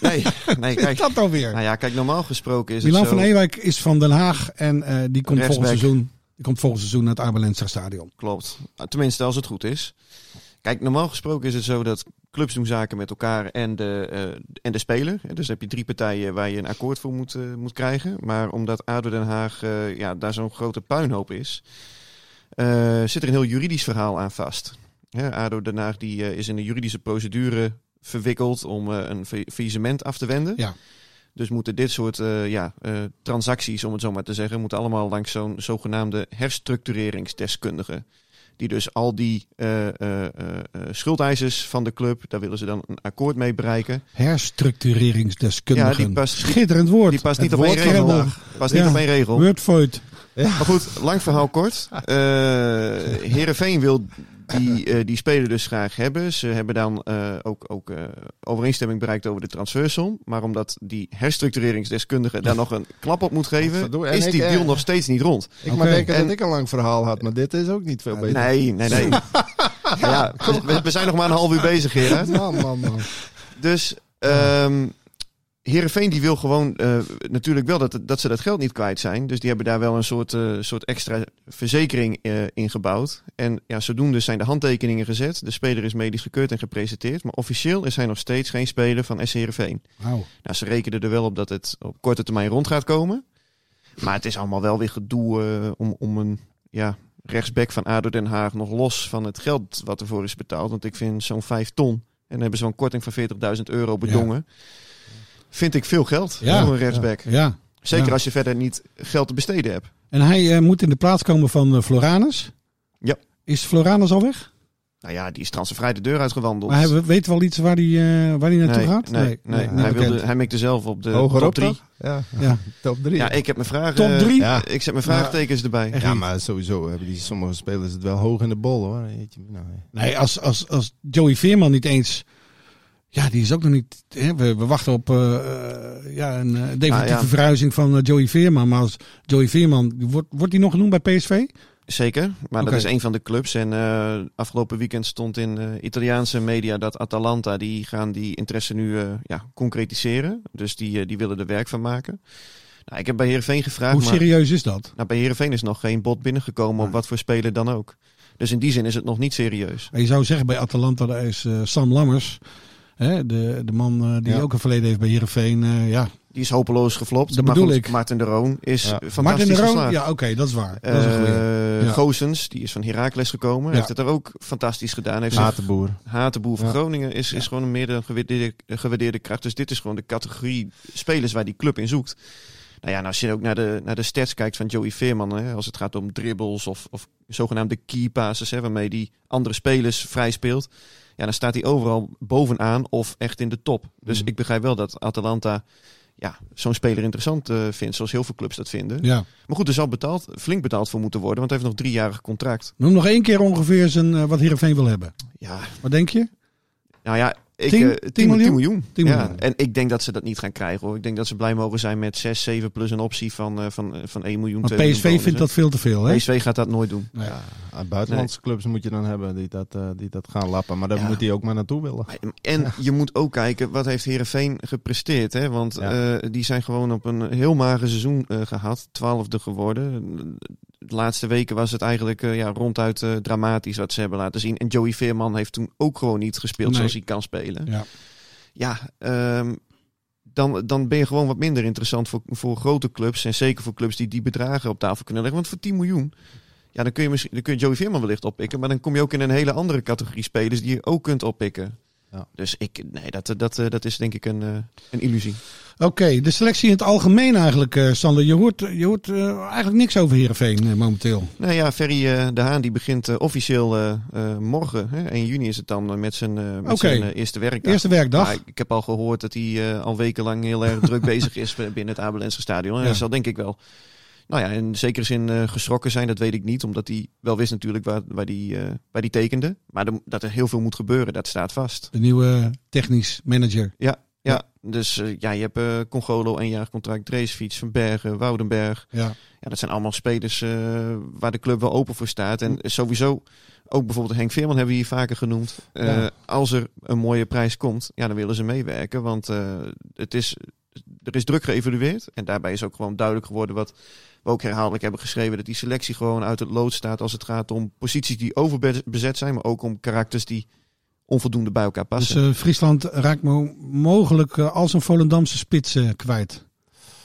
S5: Nee, nee,
S3: Is
S5: kijk.
S3: dat dan weer?
S5: Nou ja, kijk, normaal gesproken is
S3: Milan
S5: het zo.
S3: van Ewijk is van Den Haag en eh, die, komt
S5: Rechtsback.
S3: volgend seizoen, die komt volgend seizoen naar het Abelensa Stadion.
S5: Klopt. Tenminste, als het goed is. Kijk, normaal gesproken is het zo dat clubs doen zaken met elkaar en de, eh, en de speler. Dus heb je drie partijen waar je een akkoord voor moet, eh, moet krijgen. Maar omdat ADO Den Haag eh, ja, daar zo'n grote puinhoop is, eh, zit er een heel juridisch verhaal aan vast. Hè, ADO Den Haag die, eh, is in een juridische procedure verwikkeld om eh, een fa- faillissement af te wenden.
S3: Ja.
S5: Dus moeten dit soort eh, ja, eh, transacties, om het zo maar te zeggen, moeten allemaal langs zo'n zogenaamde herstructureringsdeskundige. Die dus al die eh, eh, eh, eh, schuldeisers van de club, daar willen ze dan een akkoord mee bereiken.
S3: Herstructureringsdeskundigen.
S5: Ja, die past- die-
S3: Schitterend woord.
S5: die past
S3: Het
S5: niet op één
S3: woord van
S5: regel.
S3: Den Haag.
S5: Pas niet
S3: Ja.
S5: op één regel.
S3: Wordvoid.
S5: Maar goed, lang verhaal kort. Eh Herenveen wil die, eh, die speler dus graag hebben. Ze hebben dan eh, ook, ook eh, overeenstemming bereikt over de transfersom. Maar omdat die herstructureringsdeskundige daar nog een klap op moet geven,
S4: Godverdomme. En
S5: is
S4: ik,
S5: die
S4: eh,
S5: deal nog steeds niet rond.
S4: Ik
S3: Oké.
S4: maar denken
S5: En-
S4: dat ik een lang verhaal had, maar dit is ook niet veel beter.
S5: Nee, eh, nee, nee. ja, we, we zijn nog maar een half uur bezig, Gerard.
S4: Man, man, man.
S5: Dus ehm, Heerenveen die wil gewoon eh, natuurlijk wel dat, dat ze dat geld niet kwijt zijn. Dus die hebben daar wel een soort, eh, soort extra verzekering eh, in gebouwd. En ja, zodoende zijn de handtekeningen gezet. De speler is medisch gekeurd en gepresenteerd. Maar officieel is hij nog steeds geen speler van SC Heerenveen.
S3: Wauw.
S5: Nou, ze rekenen er wel op dat het op korte termijn rond gaat komen. Maar het is allemaal wel weer gedoe eh, om, om een ja, rechtsback van ADO Den Haag nog los van het geld wat ervoor is betaald. Want ik vind zo'n 5 ton en dan hebben ze zo'n korting van 40.000 euro bedongen. Vind ik veel geld voor een rechtsback.
S3: Ja. ja.
S5: Zeker
S3: Ja.
S5: als je verder niet geld te besteden hebt.
S3: En hij eh, moet in de plaats komen van eh, Floranus.
S5: Ja.
S3: Is Floranus al weg?
S5: Nou ja, die is transfervrij de deur uitgewandeld.
S3: Maar hij weet wel iets waar hij, eh, waar hij naartoe
S5: nee,
S3: gaat?
S5: Nee, nee,
S3: niet
S5: hij,
S3: bekend.
S5: wilde, hij mikte zelf op de
S4: Hogerop
S5: top 3.
S4: toch? Ja,
S3: Ja.
S4: top 3.
S5: Ja, ik heb mijn vragen.
S3: Top drie?
S5: Ja. Ik zet mijn vraagtekens erbij.
S4: Ja, maar sowieso hebben die sommige spelers het wel hoog in de bol hoor. Jeetje, nou, ja.
S3: Nee, als, als, als Joey Veerman niet eens... Ja, die is ook nog niet... Hè, we, we wachten op eh, eh, ja, een eh, definitieve
S5: Ah, ja.
S3: verhuizing van eh, Joey Veerman. Maar als Joey Veerman... Wordt, wordt die nog genoemd bij PSV?
S5: Zeker, maar
S3: Oké.
S5: dat is een van de clubs. En eh, afgelopen weekend stond in eh, Italiaanse media dat Atalanta, die gaan die interesse nu eh, ja, concretiseren. Dus die, eh, die willen er werk van maken. Nou, ik heb bij Heerenveen gevraagd,
S3: Hoe
S5: maar
S3: serieus Ah. is dat?
S5: nou, bij Heerenveen is nog geen bod binnengekomen op wat voor speler dan ook. Dus in die zin is het nog niet serieus.
S3: Je zou zeggen bij Atalanta, daar is eh, Sam Lammers... Hè, de, de man eh, die
S4: Ja.
S3: ook een verleden heeft bij Heerenveen. eh ja.
S5: Die is hopeloos geflopt.
S3: Dat
S5: maar
S3: bedoel
S5: goed,
S3: ik.
S5: Maarten de Roon is
S4: Ja.
S5: fantastisch
S3: Martin de Roon,
S5: geslaagd.
S3: ja oké, dat is waar. Dat is een goeie.
S5: Eh,
S3: Ja.
S5: Gozens, die is van Heracles gekomen,
S3: Ja.
S5: heeft het er ook fantastisch gedaan. Heeft zich
S4: Atenboer.
S5: Hatenboer van
S4: Ja.
S5: Groningen is, is gewoon een meer dan gewaardeerde, gewaardeerde kracht. Dus dit is gewoon de categorie spelers waar die club in zoekt. Nou ja, en als je ook naar de, naar de stats kijkt van Joey Veerman, hè, als het gaat om dribbles of, of zogenaamde key passes, hè, waarmee die andere spelers vrij speelt, ja, dan staat hij overal bovenaan of echt in de top. Dus
S4: Mhm.
S5: ik begrijp wel dat Atalanta ja, zo'n speler interessant eh, vindt, zoals heel veel clubs dat vinden.
S3: ja.
S5: Maar goed, er zal betaald, flink betaald voor moeten worden, want hij heeft nog driejarig contract.
S3: Noem nog één keer ongeveer zijn, eh, wat Heerenveen wil hebben.
S5: Ja,
S3: Wat denk je?
S5: Nou ja, ik,
S3: Tien- tien
S5: eh, tien- tien miljoen.
S3: Tien
S5: ja.
S3: miljoen.
S5: En ik denk dat ze dat niet gaan krijgen hoor. Ik denk dat ze blij mogen zijn met 6, 7 plus een optie van, eh, van, eh, van 1 miljoen.
S3: Want
S5: 2 miljoen
S3: PSV vindt
S5: bonus,
S3: dat veel te veel,
S5: hè.
S3: hè?
S5: PSV gaat dat nooit doen.
S3: Nee.
S4: Ah, Buitenlandse clubs moet je dan hebben die dat, eh, die dat gaan lappen. Maar daar
S5: Ja.
S4: moet hij ook maar naartoe willen.
S5: En je moet ook kijken, wat heeft Herenveen gepresteerd? Hè? Want
S4: Ja.
S5: eh, die zijn gewoon op een heel mager seizoen eh, gehad. Twaalfde geworden. De laatste weken was het eigenlijk eh, ja, ronduit eh, dramatisch wat ze hebben laten zien. En Joey Veerman heeft toen ook gewoon niet gespeeld
S3: Nee.
S5: zoals hij kan spelen.
S3: Ja.
S5: ja, ehm, dan, dan ben je gewoon wat minder interessant voor, voor grote clubs. En zeker voor clubs die die bedragen op tafel kunnen leggen. Want voor 10 miljoen, ja, dan kun je, misschien, dan kun je Joey Veerman wellicht oppikken. Maar dan kom je ook in een hele andere categorie spelers die je ook kunt oppikken.
S4: Ja.
S5: Dus ik, nee, dat, dat, eh, dat is denk ik een, eh, een illusie.
S3: Oké, de selectie in het algemeen eigenlijk, eh Sander. Je hoort, je hoort eh, eigenlijk niks over Heerenveen eh, momenteel.
S5: Nou ja, Ferry eh, de Haan die begint eh, officieel eh, eh, morgen. Hè, 1 juni is het dan eh, met zijn, eh, met
S3: Oké.
S5: zijn eh, eerste werkdag.
S3: Eerste werkdag.
S5: Maar ik- ik heb al gehoord dat hij eh, al wekenlang heel erg druk bezig is binnen het Abelense stadion. En
S3: Ja.
S5: dat zal denk ik wel, nou ja, in zekere zin eh, geschrokken zijn. Dat weet ik niet, omdat hij wel wist natuurlijk waar, waar, die, eh, waar die tekende. Maar er- dat er heel veel moet gebeuren, dat staat vast.
S3: De nieuwe technisch manager.
S5: Ja, ja. dus eh, ja, je hebt eh Congolo, een jaar contract, Dreesfiets, Van Bergen, Woudenberg.
S3: Ja.
S5: Ja, dat zijn allemaal spelers eh, waar de club wel open voor staat. En sowieso, ook bijvoorbeeld Henk Veerman hebben we hier vaker genoemd. Eh,
S3: Ja.
S5: Als er een mooie prijs komt, ja, dan willen ze meewerken. Want eh, het is, er is druk geëvalueerd. En daarbij is ook gewoon duidelijk geworden wat we ook herhaaldelijk hebben geschreven. Dat die selectie gewoon uit het lood staat als het gaat om posities die overbezet zijn. Maar ook om karakters die onvoldoende bij elkaar
S3: Dus
S5: passen.
S3: eh, Friesland raakt mo- mogelijk eh, als een Volendamse spits eh, kwijt.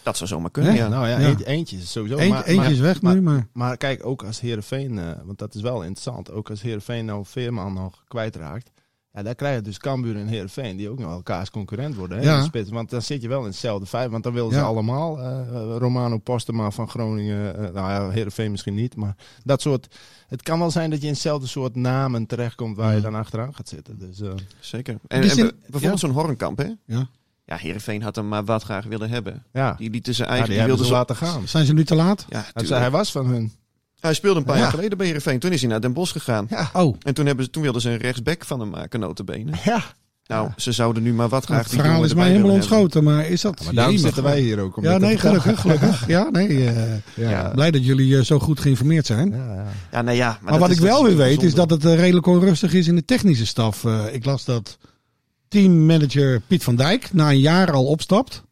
S5: dat zou zomaar kunnen,
S3: Hè?
S5: ja.
S4: Nou ja,
S3: Ja.
S4: eent- eentje is sowieso.
S3: Eent-
S4: maar,
S3: eentje
S4: maar-
S3: is weg
S4: maar-
S3: nu, maar...
S4: Maar kijk, ook als Heerenveen, eh, want dat is wel interessant, ook als Heerenveen nou Veerman nog kwijtraakt, ja, daar krijg je dus Cambuur en Heerenveen die ook nog elkaars concurrent worden. Hè, in
S3: Ja.
S4: de spits. Want dan zit je wel in hetzelfde vijf, want dan willen
S3: Ja.
S4: ze allemaal eh, Romano Postema van Groningen, eh, nou ja, Heerenveen misschien niet, maar dat soort... Het kan wel zijn dat je in hetzelfde soort namen terechtkomt waar je
S3: Ja.
S4: dan achteraan gaat zitten. Dus, eh,
S5: Zeker. En,
S3: Dus
S5: en
S3: in-
S5: be- bijvoorbeeld zo'n Hornkamp, hè?
S3: Ja.
S5: Ja, Heerenveen had hem maar wat graag willen hebben.
S4: ja,
S5: Die lieten zijn
S4: ja,
S5: eigen...
S4: die
S5: die
S4: hebben ze
S5: wilden
S4: laten gaan.
S3: Zijn ze nu te laat?
S5: Ja,
S4: Hij
S5: tuurlijk.
S4: zei, hij was van hun.
S5: Hij speelde een paar
S4: Ja.
S5: jaar geleden bij Heerenveen. Toen is hij naar Den Bosch gegaan.
S3: Oh,
S5: En toen, hebben ze, toen wilden ze een rechtsback van hem maken, notabene.
S4: Ja.
S5: Nou, ze zouden nu maar wat graag...
S3: het
S5: die
S3: verhaal
S5: jongen
S3: is mij
S5: erbij
S3: helemaal
S5: willen hebben.
S3: ontschoten. Maar is dat...
S4: Maar daarom
S3: Jemig.
S4: zitten wij hier ook. om
S3: Ja,
S4: dit te
S3: nee,
S4: vertellen.
S3: gelukkig, gelukkig. Ja, nee, eh,
S4: Ja.
S3: blij dat jullie eh, zo goed geïnformeerd zijn.
S4: Ja, ja.
S5: Ja, nou ja,
S3: Maar,
S5: dat
S3: wat ik
S5: dat
S3: wel weer weet, is
S5: bijzonder.
S3: dat het eh, redelijk onrustig is in de technische staf. Eh, ik las dat teammanager Piet van Dijk na een jaar al opstapt.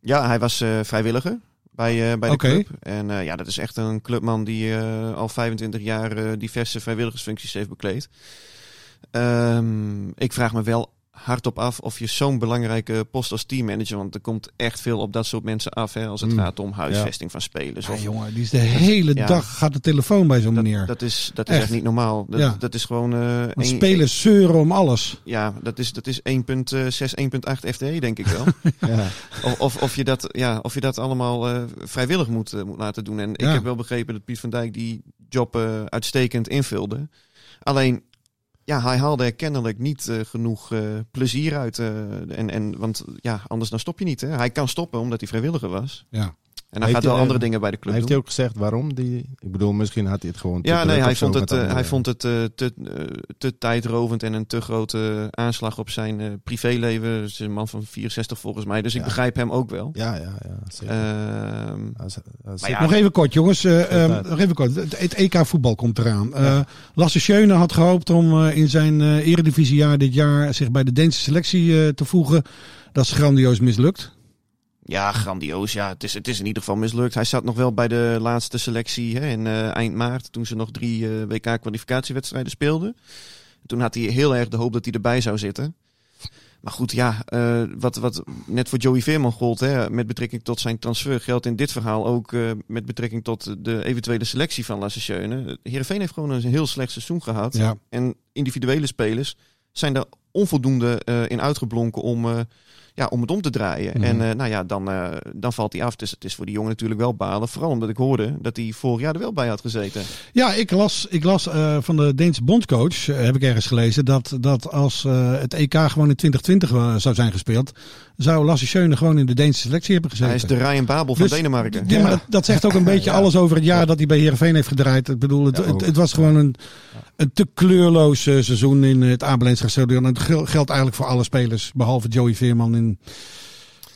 S5: Ja, hij was eh, vrijwilliger bij, eh, bij de
S3: Oké.
S5: club. En eh, ja, dat is echt een clubman die eh, al 25 jaar eh, diverse vrijwilligersfuncties heeft bekleed. Ehm, ik vraag me wel hardop af of je zo'n belangrijke post als teammanager... want er komt echt veel op dat soort mensen af hè, als het
S3: Mm.
S5: gaat om huisvesting van spelers.
S3: Ja,
S5: Of,
S3: jongen, die is de hele
S5: Ja.
S3: dag gaat de telefoon bij zo'n meneer.
S5: dat, dat is, dat is
S3: Echt.
S5: echt niet normaal. Dat,
S3: Ja.
S5: dat is gewoon... eh,
S3: Want
S5: één-
S3: spelers zeuren om alles.
S5: Ja, dat is, dat is eh, 1.6, 1.8 FTE E, denk ik wel.
S4: Ja.
S5: Of, of, of, je dat, ja, of je dat allemaal eh, vrijwillig moet, eh, moet laten doen. En
S3: Ja.
S5: ik heb wel begrepen dat Piet van Dijk die job eh, uitstekend invulde. Alleen, ja, hij haalde er kennelijk niet eh, genoeg eh, plezier uit. eh, en, en, want ja, anders dan stop je niet. Hè? Hij kan stoppen omdat hij vrijwilliger was.
S3: Ja.
S5: En hij
S4: Heeft
S5: gaat wel
S4: hij,
S5: andere
S4: eh,
S5: dingen bij de club
S4: Heeft
S5: doen.
S4: hij ook gezegd waarom? Die, ik bedoel, misschien had hij het gewoon. te
S5: Ja,
S4: druk
S5: nee,
S4: of
S5: hij
S4: zo
S5: vond
S4: met
S5: het, eh,
S4: andere-
S5: hij vond het eh, te, eh, te tijdrovend en een te grote aanslag op zijn eh, privéleven. Het is een man van 64 volgens mij, dus ik
S4: Ja.
S5: begrijp hem ook wel.
S4: Ja, ja, ja. Zeker.
S5: Ehm,
S4: Hij is- hij is-
S5: maar ja,
S3: Nog even kort, jongens. eh, ehm,
S4: uit.
S3: nog even kort. Het, het EK voetbal komt eraan. Eh, Lasse Schöne had gehoopt om eh, in zijn eh, eredivisiejaar dit jaar zich bij de Deense selectie eh, te voegen. Dat is grandioos mislukt.
S5: Ja, grandioos. Ja, het, is, het is in ieder geval mislukt. Hij zat nog wel bij de laatste selectie hè, in eh, eind maart, toen ze nog drie eh, WK-kwalificatiewedstrijden speelden. Toen had hij heel erg de hoop dat hij erbij zou zitten. Maar goed, ja, eh, wat, wat net voor Joey Veerman gold hè, met betrekking tot zijn transfer, geldt in dit verhaal ook eh, met betrekking tot de eventuele selectie van Lasse Schöne. Heerenveen heeft gewoon een heel slecht seizoen gehad.
S3: Ja.
S5: En individuele spelers zijn daar onvoldoende eh, in uitgeblonken om, eh, ja, om het om te draaien.
S3: Mhm.
S5: En eh, nou ja, dan, eh, dan valt hij af. Dus het is voor die jongen natuurlijk wel balen. Vooral omdat ik hoorde dat hij vorig jaar er wel bij had gezeten.
S3: Ja, ik las, ik las eh, van de Deense bondcoach, eh, heb ik ergens gelezen, dat, dat als eh, het EK gewoon in 2020 wa- zou zijn gespeeld, zou Lasse Schöne gewoon in de Deense selectie hebben gezeten.
S5: Hij is de Ryan Babel van
S3: Dus-
S5: Denemarken.
S3: Ja, maar dat, dat zegt ook een beetje alles over het jaar dat hij bij Heerenveen heeft gedraaid. Ik bedoel, het,
S4: Ja,
S3: het,
S4: ook.
S3: het was gewoon een, een te kleurloos eh, seizoen in het Abelense Stadion. En dat gel- geldt eigenlijk voor alle spelers, behalve Joey Veerman. In,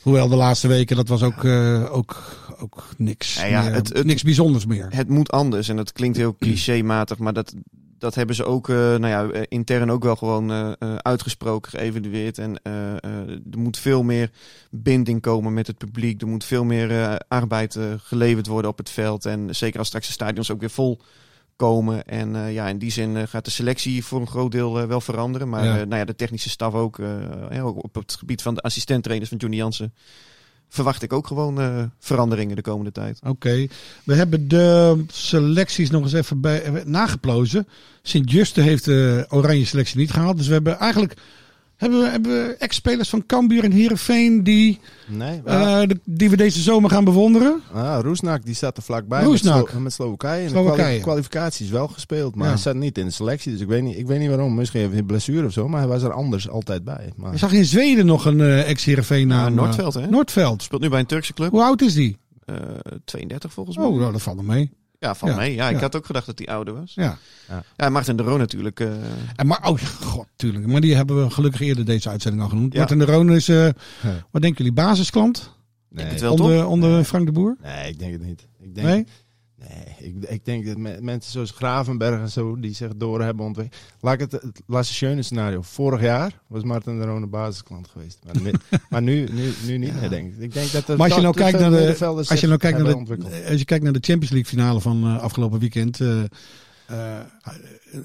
S3: hoewel de laatste weken, dat was ook, eh, ook, ook niks,
S5: Ja, ja,
S3: meer,
S5: het- het-
S3: niks bijzonders meer.
S5: Het moet anders. En dat klinkt heel clichématig, maar dat, dat hebben ze ook eh, nou ja, eh, intern ook wel gewoon eh, eh, uitgesproken, geëvalueerd. En eh, eh, er moet veel meer binding komen met het publiek. Er moet veel meer eh, arbeid eh, geleverd worden op het veld. En zeker als straks de stadions ook weer vol komen. En eh, ja, in die zin eh, gaat de selectie voor een groot deel eh, wel veranderen. Maar
S3: Ja.
S5: eh, nou ja, de technische staf ook, eh, hè, ook op het gebied van de assistenttrainers van Johnny Jansen... verwacht ik ook gewoon eh, veranderingen de komende tijd.
S3: Oké, we hebben de selecties nog eens even bij, eh, nageplozen. Sint-Juste heeft de oranje selectie niet gehaald. Dus we hebben eigenlijk hebben we, hebben we ex-spelers van Cambuur en Heerenveen die,
S4: Nee,
S3: eh, de- die we deze zomer gaan bewonderen.
S4: Ah, Roesnak die zat er vlakbij
S3: Roesnak.
S4: Met, Slo- met Slowakije. En
S3: Slowakije.
S4: De kwali- kwalificaties wel gespeeld, maar
S3: Ja.
S4: hij zat niet in de selectie. Dus ik weet niet, ik weet niet waarom. Misschien heeft hij een blessure of zo, maar hij was er anders altijd bij. Maar
S3: Ik zag in Zweden nog een eh, ex-Heerenveen naam.
S5: Ja,
S3: eh,
S5: Noordveld, hè?
S3: Noordveld.
S5: Speelt nu bij een Turkse club.
S3: Hoe oud is die?
S5: Eh, 32 volgens mij.
S3: Oh, nou, dat valt nog mee.
S5: ja, van
S3: ja,
S5: mij. Ja, ik
S3: ja.
S5: had ook gedacht dat hij ouder was.
S3: Ja.
S5: Ja, Martin de Roo natuurlijk. eh,
S3: En maar, oh god, tuurlijk. Maar die hebben we gelukkig eerder deze uitzending al genoemd.
S5: Ja.
S3: Martin de Roon is, eh,
S4: Ja.
S3: wat denken jullie, basisklant?
S4: nee,
S5: het wel.
S3: Onder,
S5: toch?
S3: onder Frank de Boer?
S4: nee, ik denk het niet. Ik denk,
S3: Nee?
S4: Nee, ik, ik denk dat me- mensen zoals Gravenberg en zo, die zich door hebben ontwikkeld. Laat ik het, het Lasse Schöne scenario. Vorig jaar was Martin de Roon een basisklant geweest. Maar, mi- maar nu, nu, nu niet meer, denk ik. ik denk dat er
S3: Maar als je
S4: dat- dat
S3: nou kijkt
S4: veel
S3: naar de,
S4: middenvelders
S3: als je
S4: zich
S3: nou kijkt naar
S4: hebben ontwikkeld.
S3: de, als je kijkt naar de Champions League finale van eh, afgelopen weekend. eh, eh,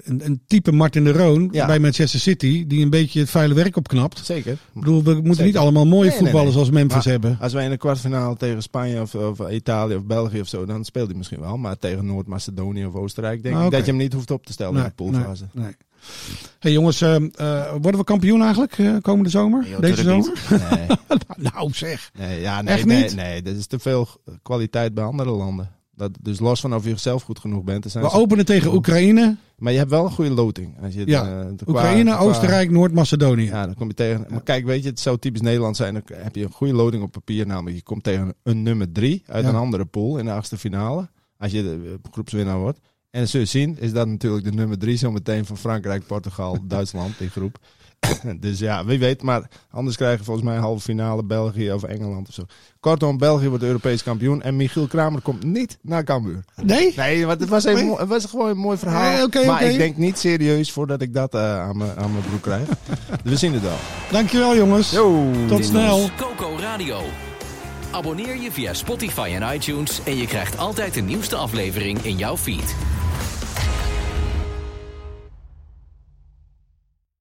S3: een, een type Martin de Roon
S4: Ja.
S3: bij Manchester City die een beetje het vuile werk opknapt. Ik
S4: Zeker.
S3: bedoel, we moeten
S4: Zeker.
S3: niet allemaal mooie
S4: Nee, nee,
S3: voetballers
S4: nee.
S3: als Memphis
S4: Maar-
S3: hebben.
S4: Als wij in de kwartfinale tegen Spanje of, of Italië of België of zo, dan speelt hij misschien wel. Maar tegen Noord-Macedonië of Oostenrijk denk
S3: Ah,
S4: ik
S3: oké.
S4: dat je hem niet hoeft op te stellen
S3: Nee,
S4: in de poolfase.
S3: nee, nee. Hey jongens, eh, eh, worden we kampioen eigenlijk eh, komende zomer?
S5: Nee, joh,
S3: Deze
S5: tuurlijk
S3: zomer?
S4: Nee,
S3: nou zeg.
S4: nee, ja, nee,
S3: Echt
S4: nee,
S3: niet?
S4: nee, dat is te veel kwaliteit bij andere landen. Dat, dus los van of je zelf goed genoeg bent. er Zijn
S3: We
S4: ze-
S3: openen tegen Oekraïne,
S4: maar je hebt wel een goede loting. Als je het,
S3: Ja,
S4: eh, qua-
S3: Oekraïne,
S4: qua-
S3: Oostenrijk, Noord-Macedonië.
S4: Ja, dan kom je tegen. Maar kijk, weet je, het zou typisch Nederland zijn. Dan heb je een goede loading op papier. Namelijk, je komt tegen een nummer drie uit
S3: Ja.
S4: een andere pool in de achtste finale. Als je de eh, groepswinnaar wordt. En dat zul je zien, is dat natuurlijk de nummer drie zometeen van Frankrijk, Portugal, Duitsland, die groep. dus ja, wie weet. Maar anders krijgen we volgens mij een halve finale België of Engeland of zo. Kortom, België wordt Europees kampioen. En Michiel Kramer komt niet naar Cambuur.
S3: Nee?
S4: Nee, want het was, even,
S3: Nee?
S4: mo- het was gewoon een mooi verhaal.
S3: Nee, oké,
S4: maar
S3: oké.
S4: ik denk niet serieus voordat ik dat eh, aan mijn aan mijn broek krijg. we zien het wel.
S3: Nou. Dankjewel jongens. Tot snel.
S2: Coco Dus Radio. Abonneer je via Spotify en iTunes en je krijgt altijd de nieuwste aflevering in jouw feed.